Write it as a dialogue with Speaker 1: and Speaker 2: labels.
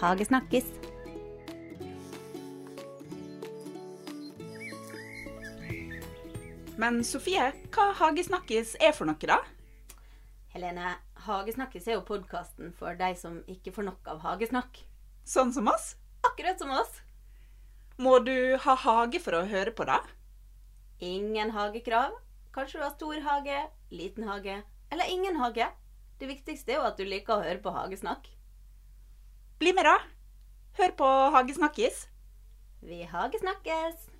Speaker 1: Hagesnakkis.
Speaker 2: Men Sofie, hva Hagesnakkis er for noe, da?
Speaker 1: Helene, Hagesnakkis er jo podkasten for de som ikke får nok av hagesnakk.
Speaker 2: Sånn som oss?
Speaker 1: Akkurat som oss.
Speaker 2: Må du ha hage for å høre på det?
Speaker 1: Ingen hagekrav. Kanskje du har stor hage, liten hage eller ingen hage. Det viktigste er jo at du liker å høre på hagesnakk.
Speaker 2: Bli med, da! Hør på Hagesnakkis.
Speaker 1: Vi hagesnakkes!